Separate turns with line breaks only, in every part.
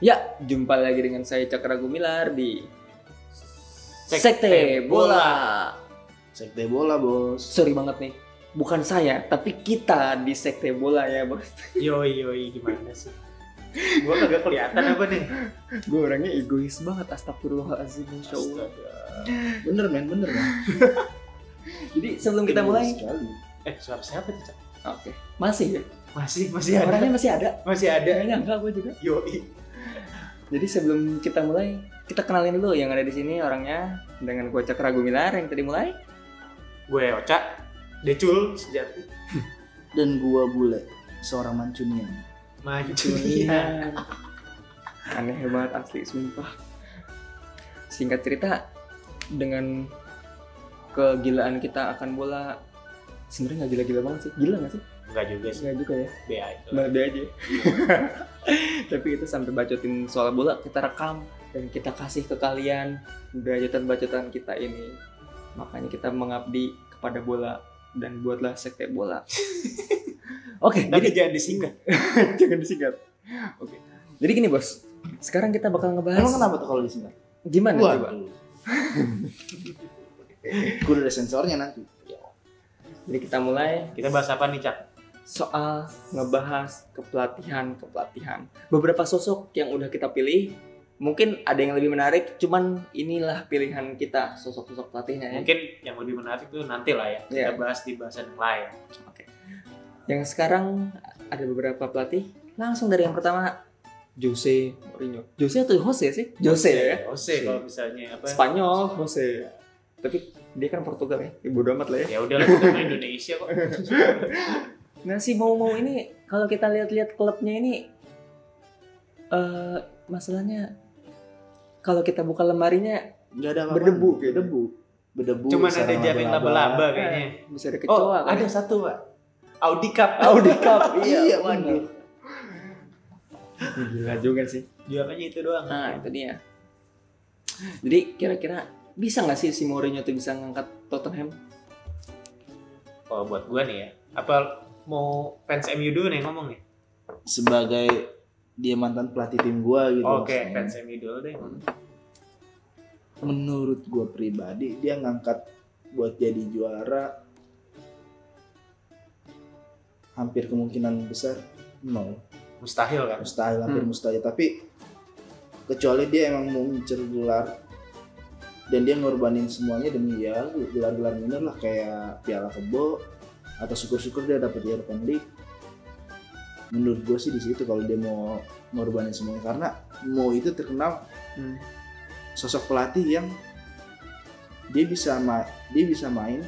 Ya, jumpa lagi dengan saya Cakra Gumilar di
Sekte
Sekte Bola.
Sekte bola bos.
Sorry banget nih, bukan saya, tapi kita di Sekte Bola ya, Bos.
Yoi yoi gimana sih? Gua kagak kelihatan apa nih?
Gue orangnya egois banget, astagfirullahalazim, insya Allah.
Bener men, bener men.
Jadi sebelum kita mulai,
Eh suara siapa tuh? Cak?
oke, masih ya?
Masih masih ada.
Orangnya masih ada?
Masih ada.
Kayaknya enggak, gue juga.
Yoi.
Jadi sebelum kita mulai, kita kenalin dulu yang ada di sini orangnya dengan gue Cakra Gumilar yang tadi mulai.
Gue Oca. Decul sejati.
Dan gua bule, seorang mancunian.
Iya. Mancunian.
Iya. aneh banget asli sumpah singkat cerita dengan kegilaan kita akan bola sebenarnya nggak gila-gila banget sih gila nggak sih
Enggak juga sih.
nggak juga ya
B aja.
malah be aja tapi itu sampai bacotin soal bola kita rekam dan kita kasih ke kalian bacotan-bacotan kita ini makanya kita mengabdi kepada bola dan buatlah sekte bola oke
Tapi
jadi
jangan disingkat.
jangan disingkat oke jadi gini bos sekarang kita bakal ngebahas
Emang kenapa tuh kalau disingkat?
gimana coba
Waduh. Kudu ada sensornya nanti.
Jadi kita mulai
Kita bahas apa nih, Cak?
soal ngebahas kepelatihan kepelatihan. Beberapa sosok yang udah kita pilih, mungkin ada yang lebih menarik, cuman inilah pilihan kita sosok-sosok pelatihnya. ya.
Mungkin yang lebih menarik tuh nanti lah ya. Kita bahas di bahasan yang lain.
Oke. Yang sekarang ada beberapa pelatih. Langsung dari yang pertama Jose Mourinho. Jose atau Jose sih? Jose ya.
Jose kalau misalnya apa?
Spanyol Jose. Tapi dia kan Portugal ya. Ibu amat lah ya.
Ya udah lah, kita main Indonesia kok.
Nah si mau mau ini kalau kita lihat-lihat klubnya ini eh masalahnya kalau kita buka lemarinya
Gak ada apa
Berdebu kayaknya.
Berdebu. Berdebu.
Cuman
sarang
ada jaring laba-laba kayaknya.
bisa ada kecoa.
Oh,
kan?
ada satu, Pak. Audi Cup.
Audi Cup.
Iya,
waduh. Gila juga sih.
Juaranya itu doang.
Nah itu dia. Jadi kira-kira bisa nggak sih si Mourinho tuh bisa ngangkat Tottenham?
Kalau buat gua nih ya, apa mau fans MU dulu nih ngomong nih?
Sebagai dia mantan pelatih tim gua gitu.
Oke,
maksudnya.
fans MU dulu deh. ngomong.
Menurut gua pribadi dia ngangkat buat jadi juara hampir kemungkinan besar nol.
Mustahil kan?
mustahil hampir
Hmm.
mustahil tapi kecuali dia emang mau ngincer gelar dan dia ngorbanin semuanya demi ya gelar-gelar minor lah kayak piala kebo atau syukur-syukur dia dapat European League menurut gue sih di situ kalau dia mau ngorbanin semuanya karena mau itu terkenal
Hmm.
sosok pelatih yang dia bisa ma- dia bisa main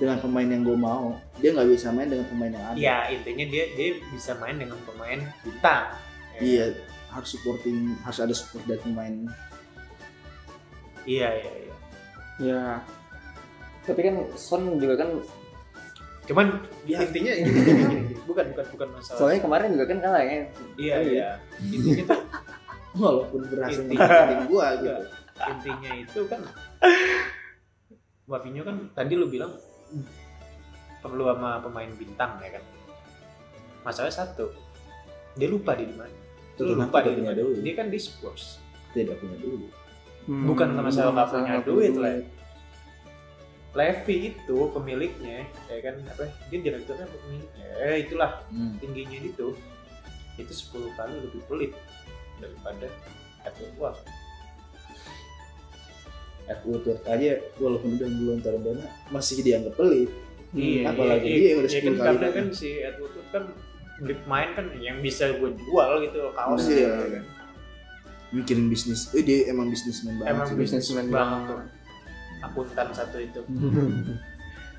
dengan pemain yang gue mau dia nggak bisa main dengan pemain yang ada
Ya intinya dia dia bisa main dengan pemain bintang. Ya.
iya harus supporting harus ada support dari pemain
Iya iya iya.
Ya. Tapi kan Son juga kan
Cuman
Ya.
intinya gini, gini, gini. bukan bukan bukan masalah.
soalnya kemarin juga kan kalah ya.
iya iya. Intinya tuh
walaupun berhasil
Intinya.
ngikutin gua gitu
Iya.
intinya itu kan Mourinho kan tadi lu bilang perlu sama pemain bintang ya kan masalah satu dia lupa dia di mana
Tentu
lu lupa
tidak
dia di
punya
mana
duit.
dia kan di Spurs
tidak punya dulu
Bukan masalah nggak punya
Hmm, nggak
duit lah. Levi itu pemiliknya ya kan apa dia direkturnya apa pemiliknya ya itulah
Hmm.
tingginya itu itu 10 kali lebih pelit daripada Edward
aku tuh aja walaupun udah belum taruh dana masih dianggap pelit
Iya,
apalagi
iya,
dia
iya.
udah 10
Ya kan,
kali
karena
lipat.
kan si Edward Wood kan beli pemain kan yang bisa gue jual gitu loh, kaos
Iya,
gitu
iya. mikirin bisnis eh dia emang bisnismen banget
emang
sih.
bisnismen
Bisnismen
banget tuh
banget.
akuntan satu itu Hmm.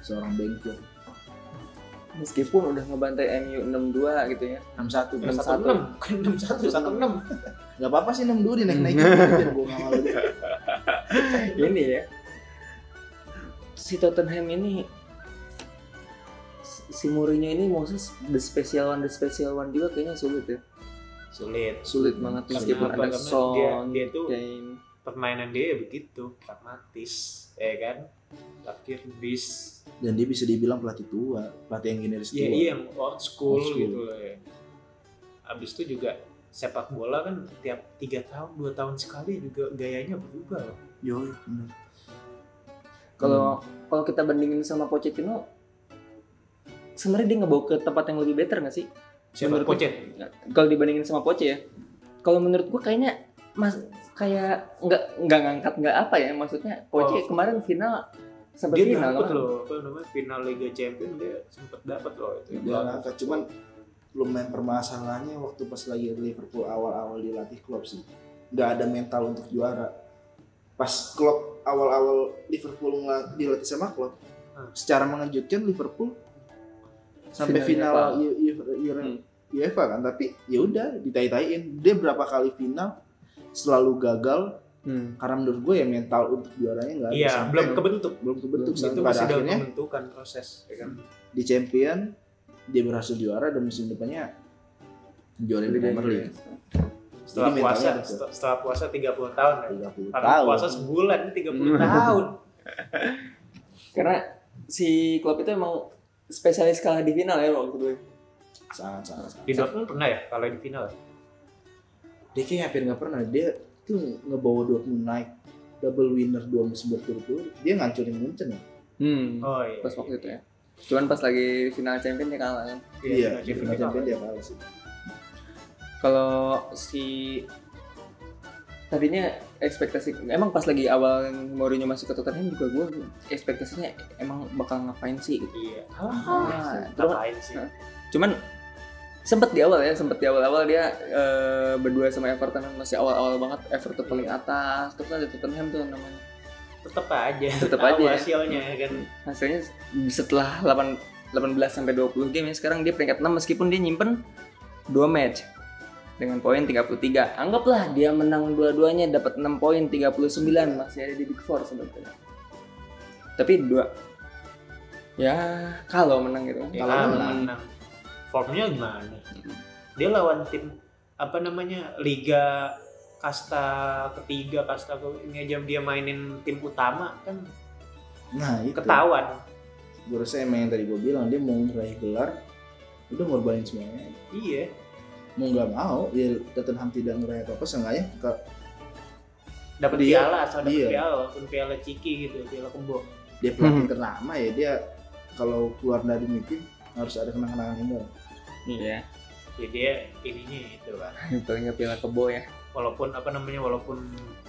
seorang bengkel
Meskipun udah ngebantai MU 6-2 gitu ya.
61
Enam
nggak
satu.
enam enam satu satu enam
apa-apa sih 62 dinaik naikin biar gua nggak malu
ini ya si Tottenham ini si Mourinho ini Moses the special one the special one juga kayaknya sulit ya
sulit
sulit banget
Karena
meskipun
apa?
ada
Karena
Son
dia- dia tuh-
Kane
permainan dia ya begitu pragmatis ya kan takdir bis
dan dia bisa dibilang pelatih tua pelatih yang generis
ya
tua
iya yang old school,
Old school.
gitu loh ya abis itu juga sepak bola kan tiap tiga tahun dua tahun sekali juga gayanya berubah loh
Yoi, bener.
Kalau kalau kita bandingin sama Pochettino, sebenarnya dia ngebawa ke tempat yang lebih better nggak sih?
siapa
Menurut-
Pocet
Kalau dibandingin sama Poche ya, kalau menurut gua kayaknya mas kayak nggak nggak ngangkat nggak apa ya maksudnya Poche
Oh.
kemarin final sampai
dia
final
dapat
kan?
loh apa namanya final Liga Champions dia sempet dapat loh itu
Dia ngangkat, cuman lumayan permasalahannya waktu pas lagi Liverpool awal-awal dilatih Klopp sih nggak ada mental untuk juara pas Klopp awal-awal Liverpool ngel- dilatih sama Klopp
Hmm.
secara mengejutkan Liverpool sampai
Final
final, U- U- Euro-
Hmm.
UEFA kan tapi ya udah ditai-taiin dia berapa kali final selalu gagal
Hmm.
karena menurut gue ya mental untuk juaranya nggak ada
iya
sampai-
belum kebentuk
belum kebentuk
Belum
sampai
itu
pada
masih dalam
akhirnya
pembentukan proses ya kan
di champion dia berhasil juara dan musim depannya juara di Premier League
setelah
mentalnya
puasa
ada
setel- setelah puasa 30 tahun ya
30
karena
tahun
puasa sebulan 30
Hmm.
tahun
Karena si klub itu emang spesialis kalah di final ya waktu itu.
sangat sangat sangat.
di Dortmund pernah ya kalau di final
dia kayak hampir nggak pernah dia tuh ngebawa Dortmund naik double winner dua musim berturut-turut dia ngancurin Munchen ya
Hmm.
oh iya
Pas waktu itu ya. Cuman pas lagi final champion dia kalah kan.
iya
di
di
final
champion dia kalah sih
Kalau si tadinya ekspektasi emang pas lagi awal Mourinho masuk ke Tottenham juga gue ekspektasinya emang bakal ngapain sih gitu.
iya
Ah, terus-
ngapain sih
Cuman sempet di awal ya, sempet di awal-awal dia eh, berdua sama Everton masih awal-awal banget Everton paling atas, terus ada Tottenham tuh namanya.
tetep aja
Tetep
Tahu
aja ya.
hasilnya ya kan
Hasilnya setelah 8 18 sampai 20 game ya sekarang dia peringkat 6 meskipun dia nyimpen 2 match dengan poin 33. Anggaplah dia menang dua-duanya dapat 6 poin 39 masih ada di Big Four sebetulnya. Tapi dua ya kalau menang gitu kan.
ya,
Kalau
kalau
menang. Hmm.
menang formnya gimana dia lawan tim apa namanya liga kasta ketiga kasta ke ini aja dia mainin tim utama kan
nah itu
ketahuan
gue rasa emang yang tadi gue bilang dia mau meraih gelar udah ngorbanin semuanya
iya
mau nggak mau ya Tottenham tidak ngeraih apa-apa seenggaknya ke
dapat
Dia-
piala asal dapat
iya.
piala walaupun piala ciki gitu piala kebo
dia pelatih
Mhm.
ternama ya dia kalau keluar dari meeting harus ada kenang-kenangan indah
Iya,
ya dia ininya itu lah
paling nggak piala kebo ya.
walaupun apa namanya walaupun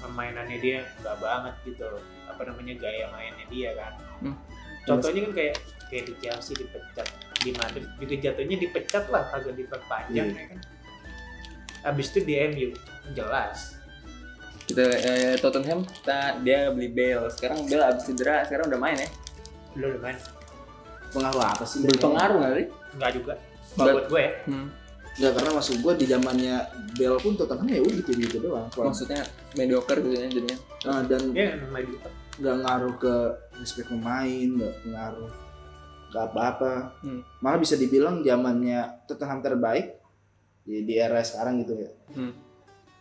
permainannya dia nggak banget gitu loh. apa namanya gaya mainnya dia kan
Hmm.
contohnya kan kayak kayak di Chelsea dipecat di Madrid juga jatuhnya dipecat lah kagak
Iya.
diperpanjang ya kan abis itu di MU jelas
Kita eh, Tottenham kita dia beli Bale. Sekarang Bale abis cedera, sekarang udah main ya.
lo lumayan
pengaruh apa sih
Berpengaruh nggak sih?
nggak juga
But-
buat gue ya
Hmm.
Enggak karena maksud gue di zamannya Bell pun Tottenham ya udah gitu gitu doang. Kurang-
Maksudnya mediocre gitu ya jadinya.
Eh, dan
dia emang main gitu
nggak ngaruh ke respect pemain, nggak ngaruh ke apa-apa.
Hmm.
Malah bisa dibilang zamannya Tottenham terbaik ya di, di era sekarang gitu ya.
Hmm.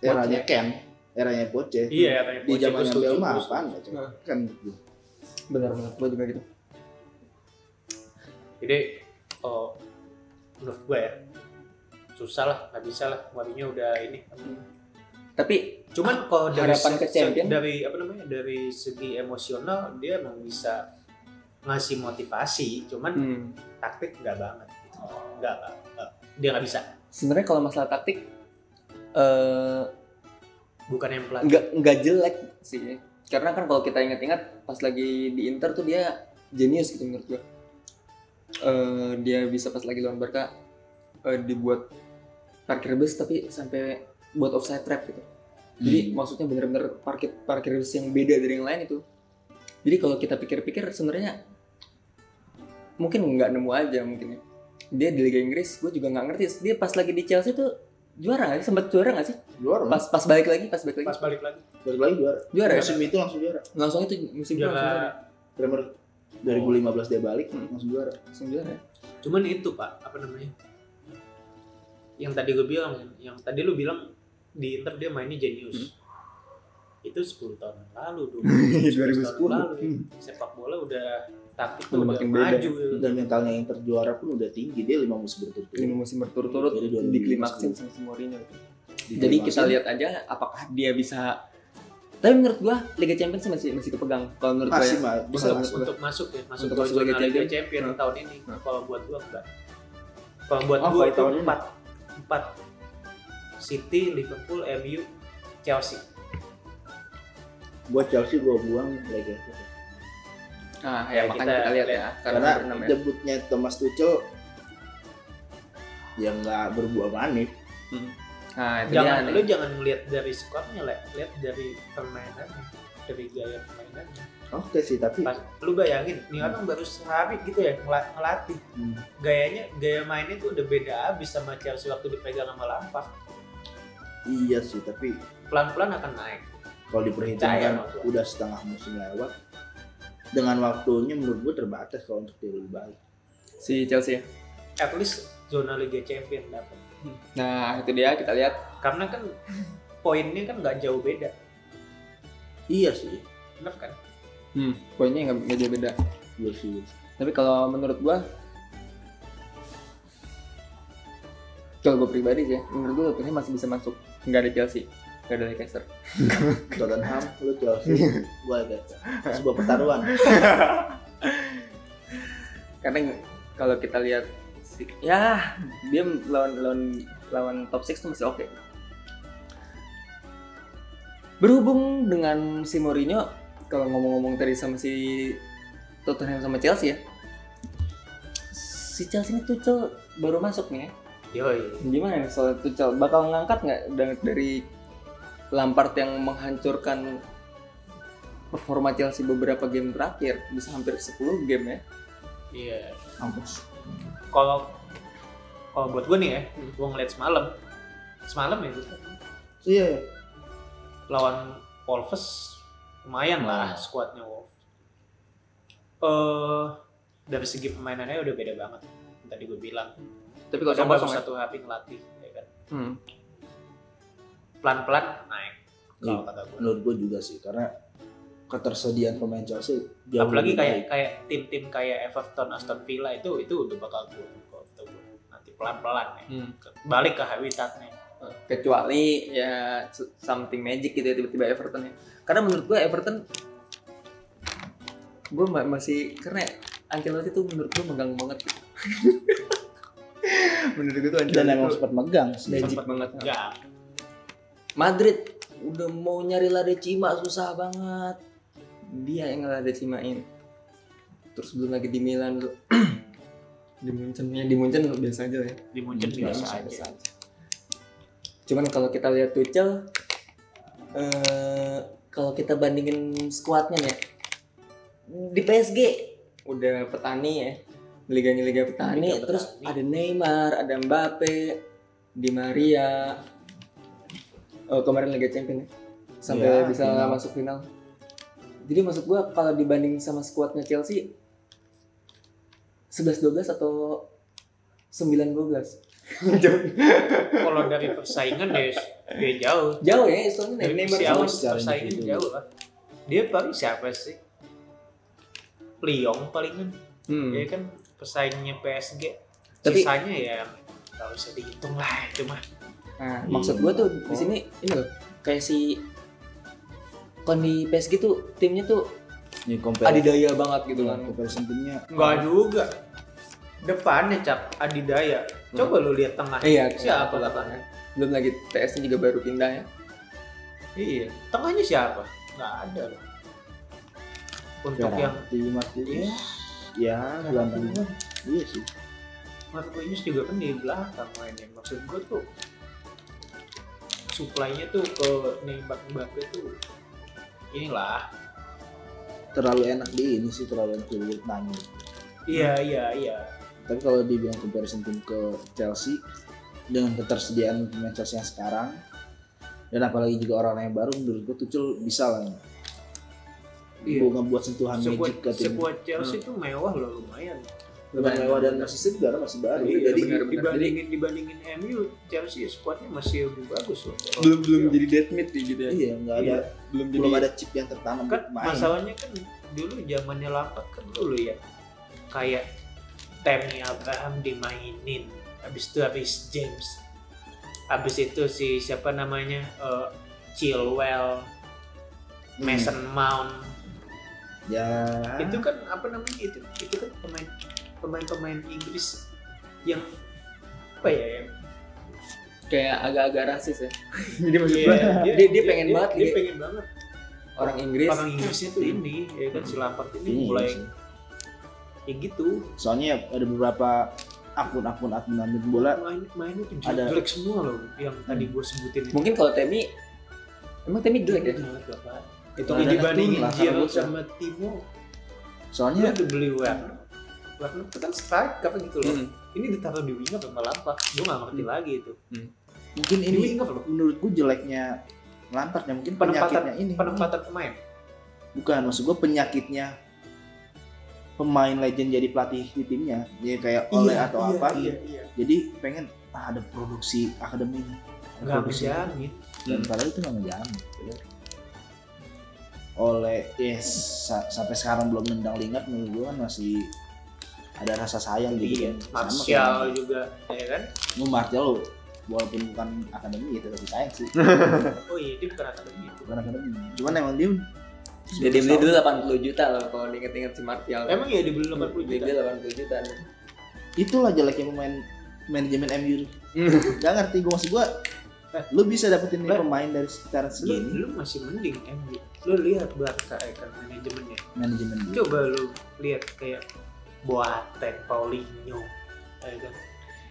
Eranya
Poche.
Ken, eranya Poche.
iya katanya
Di
Poche, gue
zamannya
setuju,
Bell
gue
mah
setuju.
apaan ya, coba. Kan gitu.
Benar benar. Gue juga gitu.
jadi oh, menurut gue ya susah lah nggak bisa lah Mourinho udah ini
Tapi
cuman kalau dari
Ah, Harapan
se-
ke
se-
champion?
dari apa namanya dari segi emosional dia emang bisa ngasih motivasi cuman
hmm, Oh.
taktik nggak banget nggak nggak, nggak. dia nggak bisa
sebenarnya kalau masalah taktik eh
bukan yang pelatih
nggak nggak jelek sih. Karena kan kalau kita ingat-ingat pas lagi di Inter tuh dia jenius gitu menurut gue. Eh, dia bisa pas lagi lawan Barca eh, dibuat parkir bus tapi sampai buat offside trap gitu.
Hmm.
Jadi maksudnya bener-bener parkir parkir bus yang beda dari yang lain itu. Jadi kalau kita pikir-pikir sebenarnya mungkin nggak nemu aja mungkin ya. Dia di Liga Inggris, gue juga nggak ngerti. Dia pas lagi di Chelsea tuh juara nggak sih? Sempat juara nggak sih?
juara
Pas
Mas.
pas balik lagi, pas balik lagi
pas balik lagi
Hmm. Balik lagi juara.
juara ya?
Musim itu langsung juara.
Langsung itu musim itu
dia
langsung juara.
Premier 2015 dia balik
Hmm.
langsung juara.
Langsung juara. ya?
cuman itu pak apa namanya yang tadi gue bilang yang tadi lu bilang di Inter dia mainnya jenius
Hmm.
itu 10 tahun yang lalu dulu
2010.
tahun lalu
Hmm.
sepak bola udah taktik
Udah
udah,
makin beda.
maju
dan mentalnya yang terjuara pun udah tinggi dia lima musim berturut-turut
lima musim berturut-turut
Iya. Jadi dua ribu
diklimaksin
sepuluh.
sama si Mourinho. gitu.
Di
Jadi
Liga
kita
Champions.
lihat aja apakah dia bisa. Tapi menurut gua Liga Champions masih masih kepegang kalau menurut gua.
masih
ya.
mah bisa
Kalau
masuk.
untuk masuk ya masuk
Untuk
ke
masuk
zona
Liga
Liga
Champion.
Champion
Hmm.
tahun ini
Hmm.
kalau buat gua enggak kalau buat
Oh,
gua
kalau
itu
tahun ini.
empat empat City Liverpool MU Chelsea
buat Chelsea gua buang Liga
Nah, ya,
Ya,
makanya
kita
kita lihat
lihat.
ya karena,
karena
berenam ya.
debutnya Thomas Tuchel ya nggak berbuah manis
Hmm. Nah, itu dia.
jangan lu
nih.
jangan ngelihat dari skornya lah lihat dari permainannya dari gaya permainannya
oke sih tapi
Pas, lu bayangin nih
Hmm.
orang baru sehari gitu ya ngela- ngelatih
hmm,
gayanya gaya mainnya tuh udah beda abis sama Chelsea waktu dipegang sama Lampard
iya sih tapi
pelan-pelan akan naik
kalau
Percaya
diperhitungkan
sama gua.
udah setengah musim lewat dengan waktunya menurut gue terbatas kalau untuk dia lebih baik
si Chelsea. ya.
at least zona Liga Champion dapat
Nah, itu dia kita lihat.
karena kan poinnya kan nggak jauh beda
iya sih
bener kan
Hmm, poinnya nggak nggak jauh beda.
gue iya sih
Tapi kalau menurut gua kalau gua pribadi sih, ya, menurut gua Tottenham masih bisa masuk. Nggak ada Chelsea, nggak ada Leicester.
Tottenham lu Chelsea gue agak sebuah pertaruhan
karena kalau kita lihat si- ya dia lawan lawan lawan top 6 tuh masih oke berhubung dengan si Mourinho kalau ngomong-ngomong tadi sama si Tottenham sama Chelsea ya si Chelsea ini Tuchel baru masuk nih ya.
yoi
gimana nih soal Tuchel bakal ngangkat nggak da- dari Lampard yang menghancurkan performa Chelsea beberapa game terakhir bisa hampir 10 game ya
iya
Mampus.
kalau kalau buat gue nih ya gue ngeliat semalam semalam ya gitu.
iya
lawan Wolves lumayan lah skuadnya Wolves eh dari segi permainannya udah beda banget tadi gue bilang
tapi
Mereka
kosong
baru
kosong ya
satu hari ngelatih ya kan
Hmm.
pelan-pelan naik kalau
Iya.
kata gue
menurut gue juga sih karena ketersediaan pemain Chelsea jauh
apalagi
lebih
kayak
baik.
kayak tim-tim kayak Everton, Aston Villa itu itu udah bakal turun kalau kata gue. nanti pelan-pelan ya Ke- balik ke habitatnya
kecuali ya s- something magic gitu ya tiba-tiba Everton ya karena menurut gue Everton gue masih karena Ancelotti tuh menurut gue megang banget gitu. menurut gue tuh
dan emang
Ancelotti tuh
sempat megang sih
magic
sempet
banget
enggak
Madrid udah mau nyari Lade Cima susah banget dia yang Lade Cimain terus belum lagi di Milan tuh di Munchen ya di Munchen biasa aja lah ya
di
Iya,
Munchen biasa
biasa
aja
aja. Cuman kalau kita lihat Tuchel, eh kalau kita bandingin skuadnya nih ya, di PSG udah petani ya, liganya liga petani,
Liga
terus
petani.
ada Neymar, ada Mbappe, Di Maria, oh, kemarin Liga Champions ya, sampai
Ya,
bisa
final.
masuk final. Jadi maksud gua kalau dibanding sama skuadnya Chelsea 11-12 atau 9-12 jauh,
kalau dari persaingan dia dia jauh
jauh ya istilahnya
dari
Neymar
si
sama
awal
jauh secara
persaingan
individu.
jauh lah dia paling siapa sih Lyon palingan
Hmm.
dia kan pesaingnya PSG
Tapi-
sisanya ya nggak usah dihitung lah itu mah
Nah, maksud gua tuh di Oh. sini ini loh kayak si kon di PSG tuh timnya tuh
ini compare
adidaya banget gitu kan.
comparison timnya
Enggak
Hmm.
juga. Depannya cap adidaya. Coba lu lihat tengah.
Hmm. Iya,
siapa
tengah.
tengahnya?
Belum lagi TS-nya juga baru pindah ya.
Iya, tengahnya siapa? Enggak ada loh. Untuk yang
Ferrati, Martinez ya gelandang iya sih
Marquinhos juga kan di belakang mainnya. Maksud gue tuh supply-nya tuh ke nembak Mbappe tuh inilah.
terlalu enak di ini sih terlalu enak di Vietnam
Iya, iya, iya.
tapi kalau dibilang comparison tim ke Chelsea dengan ketersediaan pemain Chelsea yang sekarang dan apalagi juga orang-orang yang baru menurut gue Tuchel bisa lah
Iya.
gue ngebuat sentuhan
Sekuat,
magic ke tim
Hmm. sekuat Chelsea tuh mewah loh lumayan.
Lebih mewah dan masih segar masih baru.
Iya,
jadi
benar.
dibandingin dibandingin MU Chelsea squadnya masih lebih bagus loh.
belum
Iya.
belum jadi dead meat nih gitu ya
iya nggak
Oh,
ada
iya. belum jadi
belum ada chip yang tertanam
kan
di pemain.
masalahnya kan dulu zamannya Lampard kan dulu ya kayak Tammy Abraham dimainin habis itu habis James habis itu si siapa namanya eh, Chilwell
Hmm.
Mason Mount
Ya.
Ah.
itu kan apa namanya itu itu kan pemain pemain pemain Inggris yang apa ya yang
kayak agak-agak rasis ya jadi maksud
Iya,
gua,
iya,
dia- dia pengen banget
dia
gitu.
pengen banget
orang Inggris
orang Inggrisnya tuh ini ya kan si Lampard ini
Iya,
Ini
mulai
iya sih.
ya gitu
Soalnya ada beberapa akun-akun akun admin bola
main mainnya tuh
Ada-
jelek semua loh yang tadi gue sebutin itu.
mungkin kalau Temi emang Temi jelek ya
Jelek, Bapak. itu
Nggak ada kartun
dibandingin
lah,
Giroud
kalau gua. Iya.
sama Timo lu
soalnya
udah beli Werner Werner itu kan strike apa gitu loh
Hmm.
ini ditaruh di wing up sama Lampard gue gak ngerti lagi itu
mungkin
di
Hmm. ini
wing up loh
menurutku jeleknya Lampardnya mungkin
Penempatan-
penyakitnya ini
penempatan pemain
bukan maksud gue penyakitnya pemain legend jadi pelatih di timnya ya kayak oleh atau apa
iya iya
jadi pengen ah, ada produksi akademinya Ada
gak
produksi.
menjamin
dan padahal itu nggak menjamin oleh yes sa- sampai sekarang belum mendang lingat menurut gue kan masih ada rasa sayang gitu
iya
kan. Sama
Martial juga ya kan
kayak- Lu Martial lo walaupun bukan akademi ya tetap sayang sih
oh iya dia bukan akademi itu
bukan akademi cuman emang dia
dia dibeli dulu 80 juta loh kalau diinget-inget si Martial
emang ya dibeli 80 juta
dibeli 80 juta nih.
itulah jeleknya pemain manajemen MU
Hmm.
gak ngerti gue maksud gue lu bisa dapetin nih
Lah.
pemain dari sekitar
Eh. lu,
segini
lu masih mending MU lu lihat Barca ya kan manajemennya
manajemen dia
coba lu lihat kayak Boateng, Paulinho, ya kan?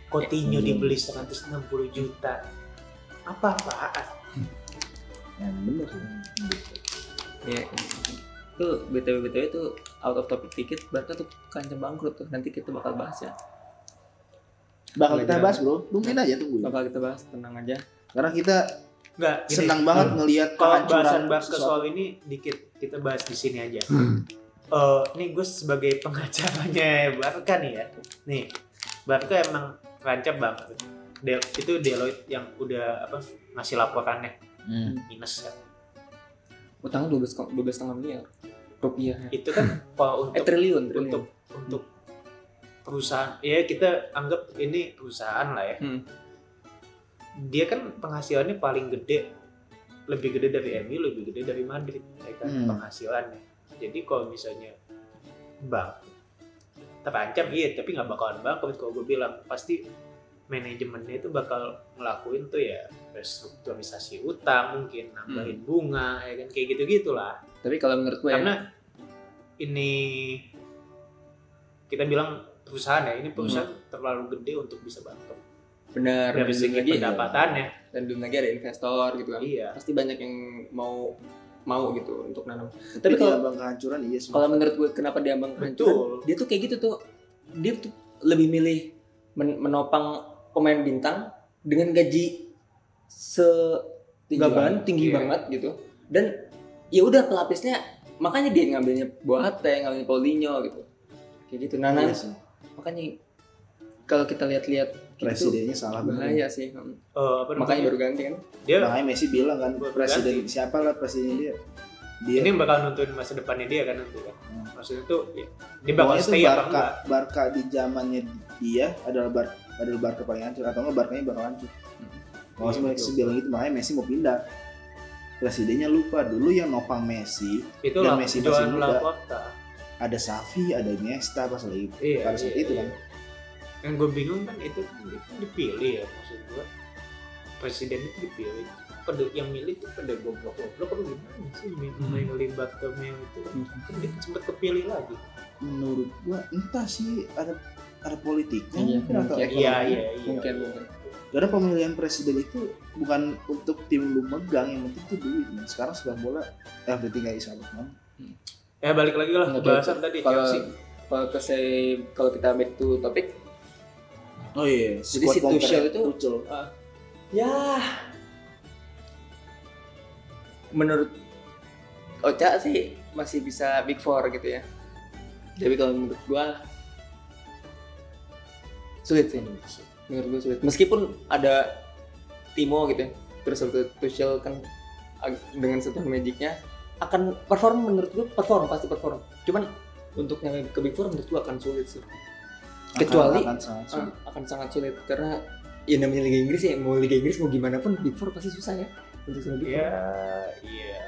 Coutinho
Hmm.
dibeli 160 juta. Apa apaan?
yang Ya, bener sih.
Iya. Itu BTW BTW itu out of topic ticket Barca tuh kancam bangkrut tuh. Nanti kita bakal bahas ya.
bakal kita
Manajemen.
bahas bro mungkin aja tunggu
Bakal kita bahas tenang aja.
karena kita
Enggak, gini. hmm.
senang banget ngelihat
Kalau
kehancuran
bahasan bahas
sesuatu.
soal ini dikit kita bahas di sini aja. Eh, nih gue sebagai pengacaranya Barca nih ya. Nih, Barca emang rancap banget. Del- itu Deloitte yang udah apa ngasih laporannya
Hmm.
minus kan.
Utangnya 12 ko- 12 setengah miliar rupiah.
Itu kan kalau
Eh
untuk
triliun, triliun.
untuk untuk perusahaan ya kita anggap ini perusahaan lah ya
Hmm.
dia kan penghasilannya paling gede lebih gede dari MU lebih gede dari Madrid ya kan
Hmm.
penghasilannya jadi kalau misalnya bank terancam iya tapi nggak bakalan bangkrut kalau gue bilang pasti manajemennya itu bakal ngelakuin tuh ya restrukturisasi utang mungkin nambahin bunga ya kan kayak gitu gitulah
Tapi kalau menurut
Iya.
gue ya,
karena ini kita bilang perusahaan ya ini perusahaan
Hmm.
terlalu gede untuk bisa bangkrut
ya, benar
dari
belum
segi
lagi
pendapatannya
dan belum lagi ada investor gitu kan.
iya
Pasti banyak yang mau mau gitu untuk nanam.
Hmm.
Tapi
tapi kalau
kalau
abang kehancuran iya sih
kalau menurut gue kenapa dia bangkrut?
betul
dia tuh kayak gitu tuh dia tuh lebih milih men- menopang pemain bintang dengan gaji segaban tinggi
Iya.
banget gitu dan ya udah pelapisnya makanya dia ngambilnya Boateng ngambilnya Paulinho gitu kayak gitu nah
Iya
nanti-
sih.
makanya kalau kita lihat-lihat gitu
presidennya salah banget
Nah,
bahaya sih
Eh, apa
makanya
namanya?
baru ganti kan
dia
makanya Messi bilang kan
Buat
presiden siapa lah presiden dia dia
ini bakal nonton masa depannya dia kan nanti kan
Hmm.
maksudnya tuh ya, dia bakal
Pokoknya itu
stay apa
Barca,
enggak
Barca di zamannya dia adalah Bar, adalah Barca paling hancur atau enggak Barca-nya bakal hancur. Kalau
Iya,
semua
betul.
Messi bilang gitu makanya Messi mau pindah. Presidennya lupa dulu yang nopang Messi
itu
dan
lah
Messi masih
jualan
muda.
Laporta
ada Xavi, ada Iniesta pas lagi
iya,
pada saat
iya,
itu
iya.
kan.
yang gue bingung kan itu kan dia kan dipilih ya maksud gue presiden itu dipilih pada yang milih itu pada goblok-goblok apa gimana sih main main libat itu kan Kan dia sempat kepilih lagi
Menurut gua entah sih ada ada politiknya
Iya,
mungkin atau
mungkin.
ekonomi.
iya iya iya
mungkin mungkin
Karena pemilihan presiden itu bukan untuk tim lu megang yang penting itu duit. men. Sekarang sepak bola eh, everything kayak Isabel man.
ya balik lagi lah
Nggak
bahasan tadi
kalau gitu.
Chelsea
kalau ke saya- kalau kita back to topik
Oh iya,
Jadi
squad
si
monster
Tuchel
ya,
itu-
Tuchel.
Ya. Menurut Oca sih masih bisa big four gitu ya. Tapi kalau menurut gua sulit sih menurut gue sulit meskipun ada Timo gitu ya terus waktu Tuchel kan ag- dengan satu magicnya akan perform menurut gue perform pasti perform cuman untuk nyampe ke big four menurut gue akan sulit sih
Akan-
kecuali
akan sangat
Ah,
sulit.
akan sangat sulit karena ya namanya Liga Inggris ya mau Liga Inggris mau gimana pun big four pasti susah ya untuk sama big
Iya,
four
iya.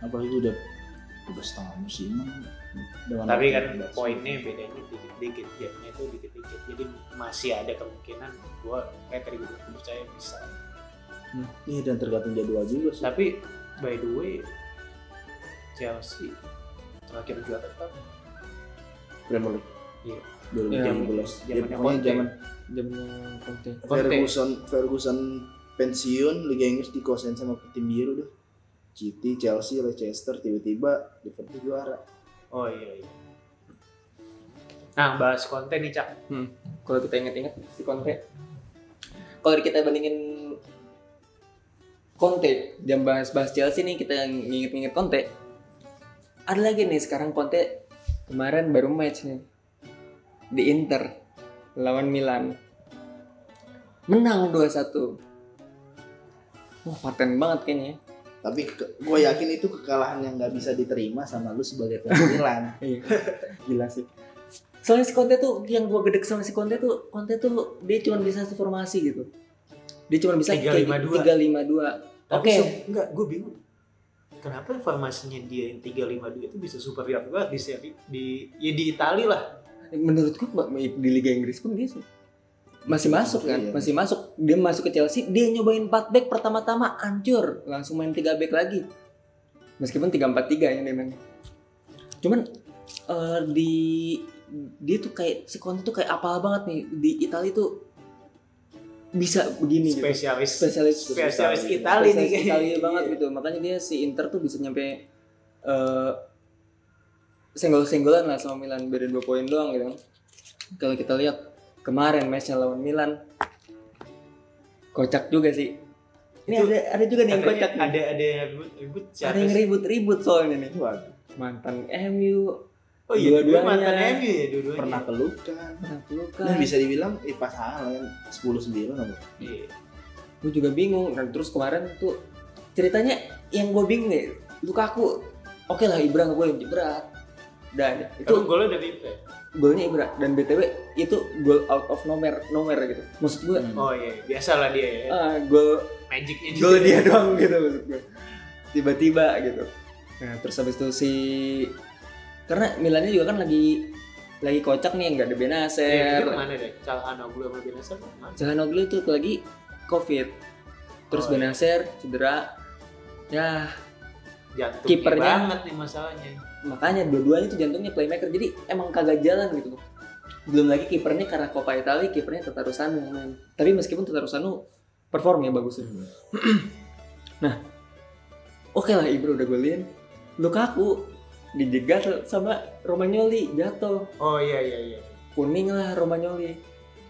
Ah.
apalagi udah udah setengah musim kan. dengan
Tapi kan
dengan-
poinnya bedanya dikit-dikit, jamnya itu dikit-dikit. Jadi masih ada kemungkinan gue kayak tadi gue percaya bisa.
iya dan tergantung jadwal juga sih
Tapi by the way Chelsea terakhir juara kan
Premier League
Iya.
2017
Iya.
ya, pokoknya
Zamannya
zaman
jamnya penting
Conte.
Ferguson Ferguson pensiun Liga Inggris dikuasain sama tim biru dah City, Chelsea, Leicester tiba-tiba Liverpool juara.
Oh iya iya. Nah bahas konten nih cak.
kalau kita ingat-ingat si Conte kalau kita bandingin Conte jam bahas-bahas Chelsea nih kita nginget-nginget Conte ada lagi nih sekarang Conte kemarin baru match nih di Inter lawan Milan menang 2-1 wah paten banget kayaknya ya.
Tapi gue yakin itu kekalahan yang nggak bisa diterima sama lu sebagai fans Milan.
Iya. Gila sih. Soalnya si Conte tuh yang gua gedek sama si Conte tuh Conte tuh dia cuma bisa satu formasi gitu. Dia cuma bisa gitu,
3-5-2.
352.
Tapi
Oke.
se- Enggak, gue bingung. Kenapa informasinya dia yang 352 itu bisa super viral banget di seri di ya di Itali lah.
Menurut gua ma- di Liga Inggris pun dia sih masih masuk kan,
Iya.
masih masuk. Dia masuk ke Chelsea, dia nyobain 4 back pertama-tama hancur, langsung main 3 back lagi. Meskipun 3-4-3 yang ya, dia main. Cuman eh, di dia tuh kayak si Conte tuh kayak apal banget nih di Italia tuh bisa begini gitu.
Spesialis.
spesialis
Spesialis
Itali.
Itali nih.
Spesialis Itali banget
Iya.
gitu makanya dia si Inter tuh bisa nyampe eh senggol-senggolan lah sama Milan beda dua poin doang gitu kan. kalau kita lihat kemarin matchnya lawan Milan kocak juga sih ini
Itu
ada ada juga nih yang
Katanya
kocak nih.
ada ada yang ribut, ribut
ada
siapa
yang
sih?
ribut-ribut soalnya nih
Waduh,
mantan MU
Oh iya, dua-duanya
Dua-duanya.
mantan MU ya dua-duanya.
pernah pelukan.
pernah
Dan
pelukan
bisa dibilang eh, pasangan lah kan 10-9 apa?
Iya.
gue juga bingung dan terus kemarin tuh ceritanya yang gue bingung ya Lukaku oke lah Ibra gue lebih berat dan
Itu
itu
golnya dari Ibra.
golnya Ibra dan btw itu goal out of nowhere nowhere gitu maksud gue
Oh iya, biasalah dia ya.
ah, gol
Magicnya
gol dia doang gitu maksud gue tiba-tiba gitu nah terus habis itu si karena Milannya juga kan lagi lagi kocak nih nggak ada
Iya,
Benacer
itu mana deh? Calhanoglu sama Benasar mana?
Zahanoglu tuh lagi covid terus
Oh, iya.
Benacer cedera ya
Jantungnya
Kipernya.
banget nih masalahnya.
makanya dua-duanya tuh jantungnya playmaker jadi emang kagak jalan gitu loh belum lagi kipernya karena Coppa Italia kipernya Tata Rusano yang main tapi meskipun Tata Rusano perform ya bagus ya.
Hmm.
oke lah Ibra udah golin Lukaku dijegat sama Romagnoli jatuh
Oh iya iya iya.
kuning lah Romagnoli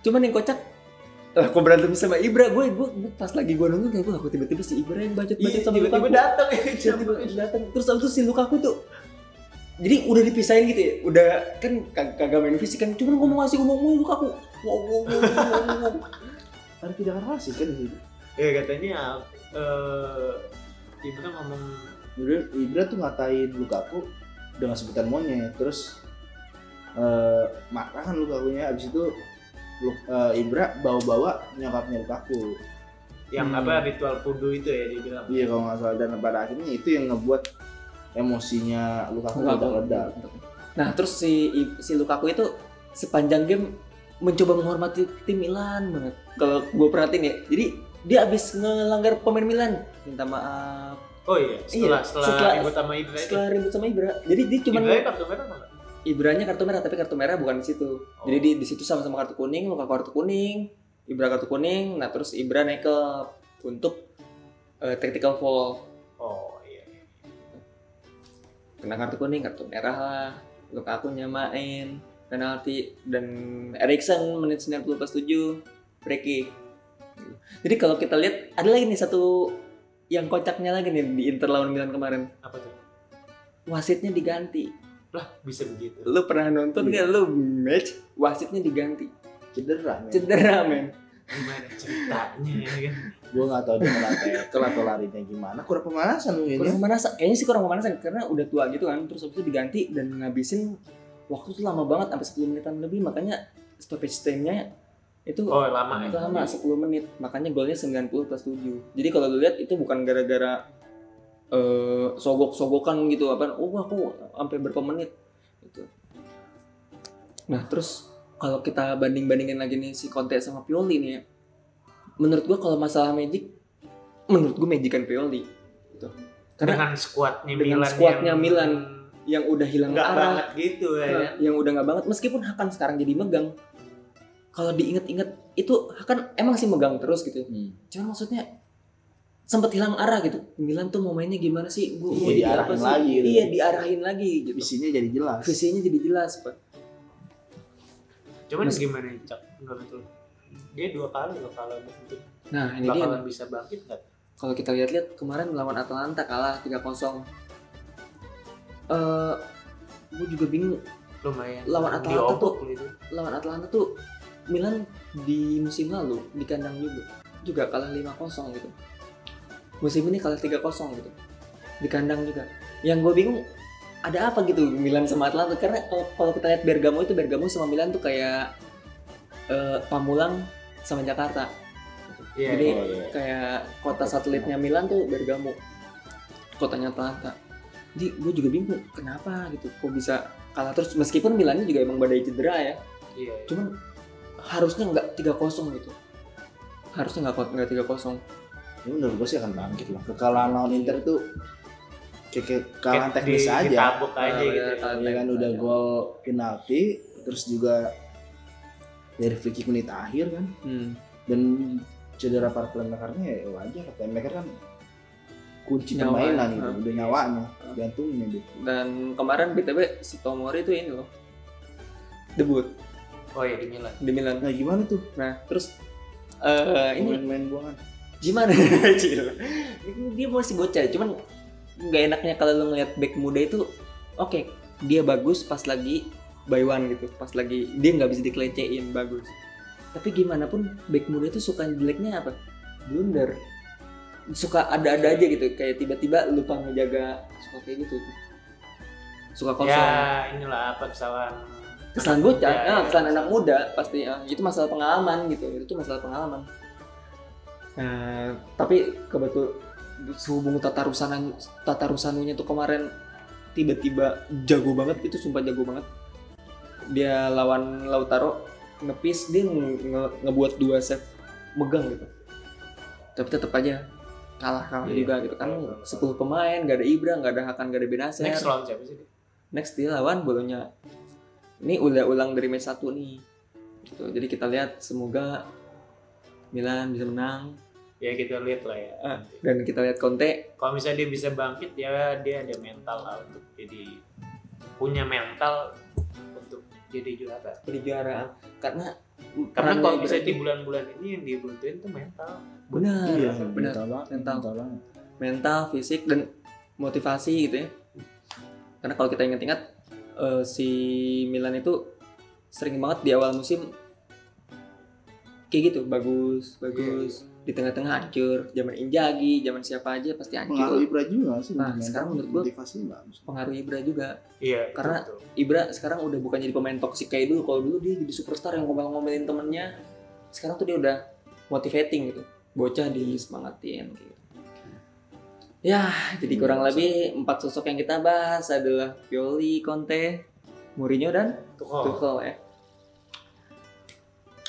cuman yang kocak lah kok berantem sama Ibra gue gue gue pas lagi gue nonton kayak gue aku tiba-tiba si Ibra yang bacot bacot
Iya,
sama
tiba-tiba
Lukaku
datang ya.
tiba-tiba datang terus abis itu si Lukaku tuh jadi udah dipisahin gitu ya udah kan kag- kagak main fisik kan cuman ngomong asik ngomong mulu Lukaku wow wow wow wow, wow, wow.
Kan tidak kan rasis kan di situ.
Ya katanya eh Ibra ngomong
Ibra, Ibra tuh ngatain Lukaku dengan sebutan monyet terus eh marah kan Lukakunya abis itu Lu- eh, Ibra bawa-bawa nyokapnya Lukaku
yang
Hmm.
apa ritual kudu itu ya dia bilang.
iya kalau nggak salah dan pada akhirnya itu yang ngebuat emosinya Lukaku
Lukaku.
meledak-ledak
nah terus si si Lukaku itu sepanjang game mencoba menghormati tim Milan banget kalau gue perhatiin ya jadi dia abis ngelanggar pemain Milan minta maaf
Oh iya, setelah
Iya,
setelah,
setelah-
ribut sama Ibra itu.
setelah ribut sama Ibra jadi dia cuman
Ibra kartu merah malah.
Ibranya kartu merah tapi kartu merah bukan di situ. Jadi
Oh.
di, di situ sama-sama kartu kuning, Lukaku kartu kuning, Ibra kartu kuning, nah terus Ibra naik ke untuk eh, tactical foul.
Oh iya.
Kena kartu kuning, kartu merah lah. Lukaku nyamain penalti dan Erikson menit 90 plus 7 free kick. Jadi kalau kita lihat ada lagi nih satu yang kocaknya lagi nih di Inter lawan Milan kemarin.
Apa tuh?
Wasitnya diganti.
Lah, bisa begitu.
Lu pernah nonton nggak lu match wasitnya diganti?
cedera men
cedera men
gimana ceritanya ya kan
gue nggak tahu dia kena tackle atau larinya gimana kurang pemanasan mungkin ya
kurang pemanasan kayaknya sih kurang pemanasan karena udah tua gitu kan terus habis itu diganti dan ngabisin waktu tuh lama banget sampai 10 menitan lebih makanya stoppage time-nya itu
oh lama ya
itu lama 10 menit makanya golnya 90 plus 7 jadi kalau lu lihat itu bukan gara-gara eh, sogok-sogokan gitu apa oh aku sampai berapa menit gitu nah terus kalau kita banding-bandingin lagi nih si Conte sama Pioli nih ya menurut gua kalau masalah Magic menurut gua Magic kan Pioli gitu. karena
dengan skuadnya
dengan
Milan
skuadnya
yang
Milan yang udah hilang
nggak
arah Nah.
banget gitu ya kan
yang udah nggak banget meskipun Hakan sekarang jadi megang kalau diinget-inget itu Hakan emang sih megang terus gitu
Hmm.
cuman maksudnya sempat hilang arah gitu Milan tuh mau mainnya gimana sih gue
Iya, diarahin lagi gitu.
iya diarahin lagi gitu
isinya jadi jelas
visinya jadi jelas pak
cuman
Mas-
gimana cak menurut lu dia dua kali dua kali mungkin
nah ini dia
bakalan bisa bangkit nggak
kalau kita lihat-lihat kemarin melawan Atalanta kalah 3-0 eh gue juga bingung
lumayan
Lawan Atalanta
diobok gitu.
tuh-
lu itu
lawan Atalanta tuh Milan di musim lalu di kandang juga juga kalah 5-0 gitu musim ini kalah 3-0 gitu di kandang juga yang gue bingung ada apa gitu Milan sama Atalanta karena kalau kalau kita lihat Bergamo itu Bergamo sama Milan tuh kayak eh, Pamulang sama Jakarta
Iya,
Jadi-
iya.
kayak kota satelitnya Milan tuh Bergamo kotanya Atalanta jadi gue juga bingung kenapa gitu kok bisa kalah terus meskipun Milannya juga emang badai cedera ya
iya iya.
cuman harusnya nggak 3-0 gitu harusnya nggak ko- nggak 3-0
ya menurut gue sih akan bangkit lah kekalahan lawan Inter tuh kayak kayak kekalahan
Kayak
teknis
di-
aja
ditabok aja
Nah,
gitu ya.
kekalahan
ya kan
teknis
udah
aja.
gol penalti terus juga dari free kick menit akhir kan
hmm.
dan cedera para playmakernya ya wajar playmaker kan kunci
Nyawa,
permainan gitu
ah.
udah nyawanya gantungnya dia
dan kemarin BTW si Tomori itu ini loh debut
oh iya di Milan
di Milan
nah gimana tuh kan?
nah terus eh ini
main-main buangan
gimana Cil? dia masih bocah cuman nggak enaknya kalau lo ngeliat back muda itu oke dia bagus pas lagi by one gitu pas lagi dia nggak bisa dikelecehin bagus tapi gimana pun back muda itu suka jeleknya apa blunder suka ada-ada aja gitu kayak tiba-tiba lupa menjaga suka kayak gitu suka kosong
ya inilah apa kesalahan
kesalahan bocah,
Ya,
nah,
ya.
kesalahan anak muda pasti ah, itu masalah pengalaman gitu, itu masalah pengalaman.
Eh,
Nah, tapi kebetul sehubung tata rusana tata rusanunya tuh kemarin tiba-tiba jago banget itu sumpah jago banget. Dia lawan Lautaro ngepis dia nge- nge- ngebuat dua save megang gitu. Tapi tetap aja kalah kalah
Iya.
juga gitu kan 10 pemain gak ada Ibra gak ada Hakan gak ada Benacer
next round siapa sih
next dia lawan bolonya ini udah ulang dari match 1 nih gitu jadi kita lihat semoga Milan bisa menang
ya kita lihat lah ya
Ah. dan kita lihat Conte
kalau misalnya dia bisa bangkit ya dia ada mental lah untuk jadi punya mental untuk jadi juara
jadi juara karena
karena
perannya
kalau misalnya di
berarti-
bulan-bulan ini yang dibutuhin tuh mental
benar
iya
Ah, benar
mental banget
mental.
mental banget
mental fisik dan motivasi gitu ya karena kalau kita ingat-ingat eh, si Milan itu sering banget di awal musim kayak gitu bagus bagus di tengah-tengah hancur zaman Injagi zaman siapa aja pasti hancur
pengaruh Ibra juga sih
Nah,
mental.
sekarang menurut gua-
motivasinya bagus
pengaruh Ibra juga.
iya
Karena-
betul.
Ibra sekarang udah bukan jadi pemain toksik kayak dulu. Kalau dulu dia jadi superstar yang ngomel-ngomelin temennya. Sekarang tuh dia udah motivating gitu. Bocah disemangatin gitu. Ya, jadi
Hmm,
Iya,
kurang
so-
lebih empat sosok yang kita bahas adalah Pioli, Conte, Mourinho dan
Tuchel.
Tuchel ya.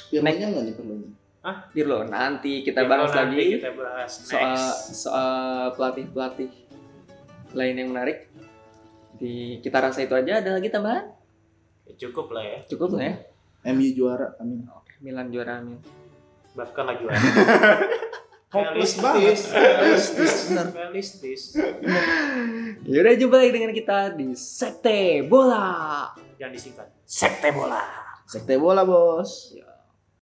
Pirlo-nya nggak nih Pirlo-nya
Pirlo nanti kita
Ya,
bahas
kalau nanti
lagi
kita bahas next
soal soal pelatih-pelatih lain yang menarik. Di kita rasa itu aja ada lagi tambahan?
Ya, cukup lah ya
Cukup lah ya.
MU juara kan? amin
Oke, Milan juara amin.
bahkan lagi
Hopeless
realistis realistis
Benar.
realistis
Yaudah jumpa lagi dengan kita di Sekte Bola.
yang disingkat
Sekte Bola.
sekte bola bos
Ya.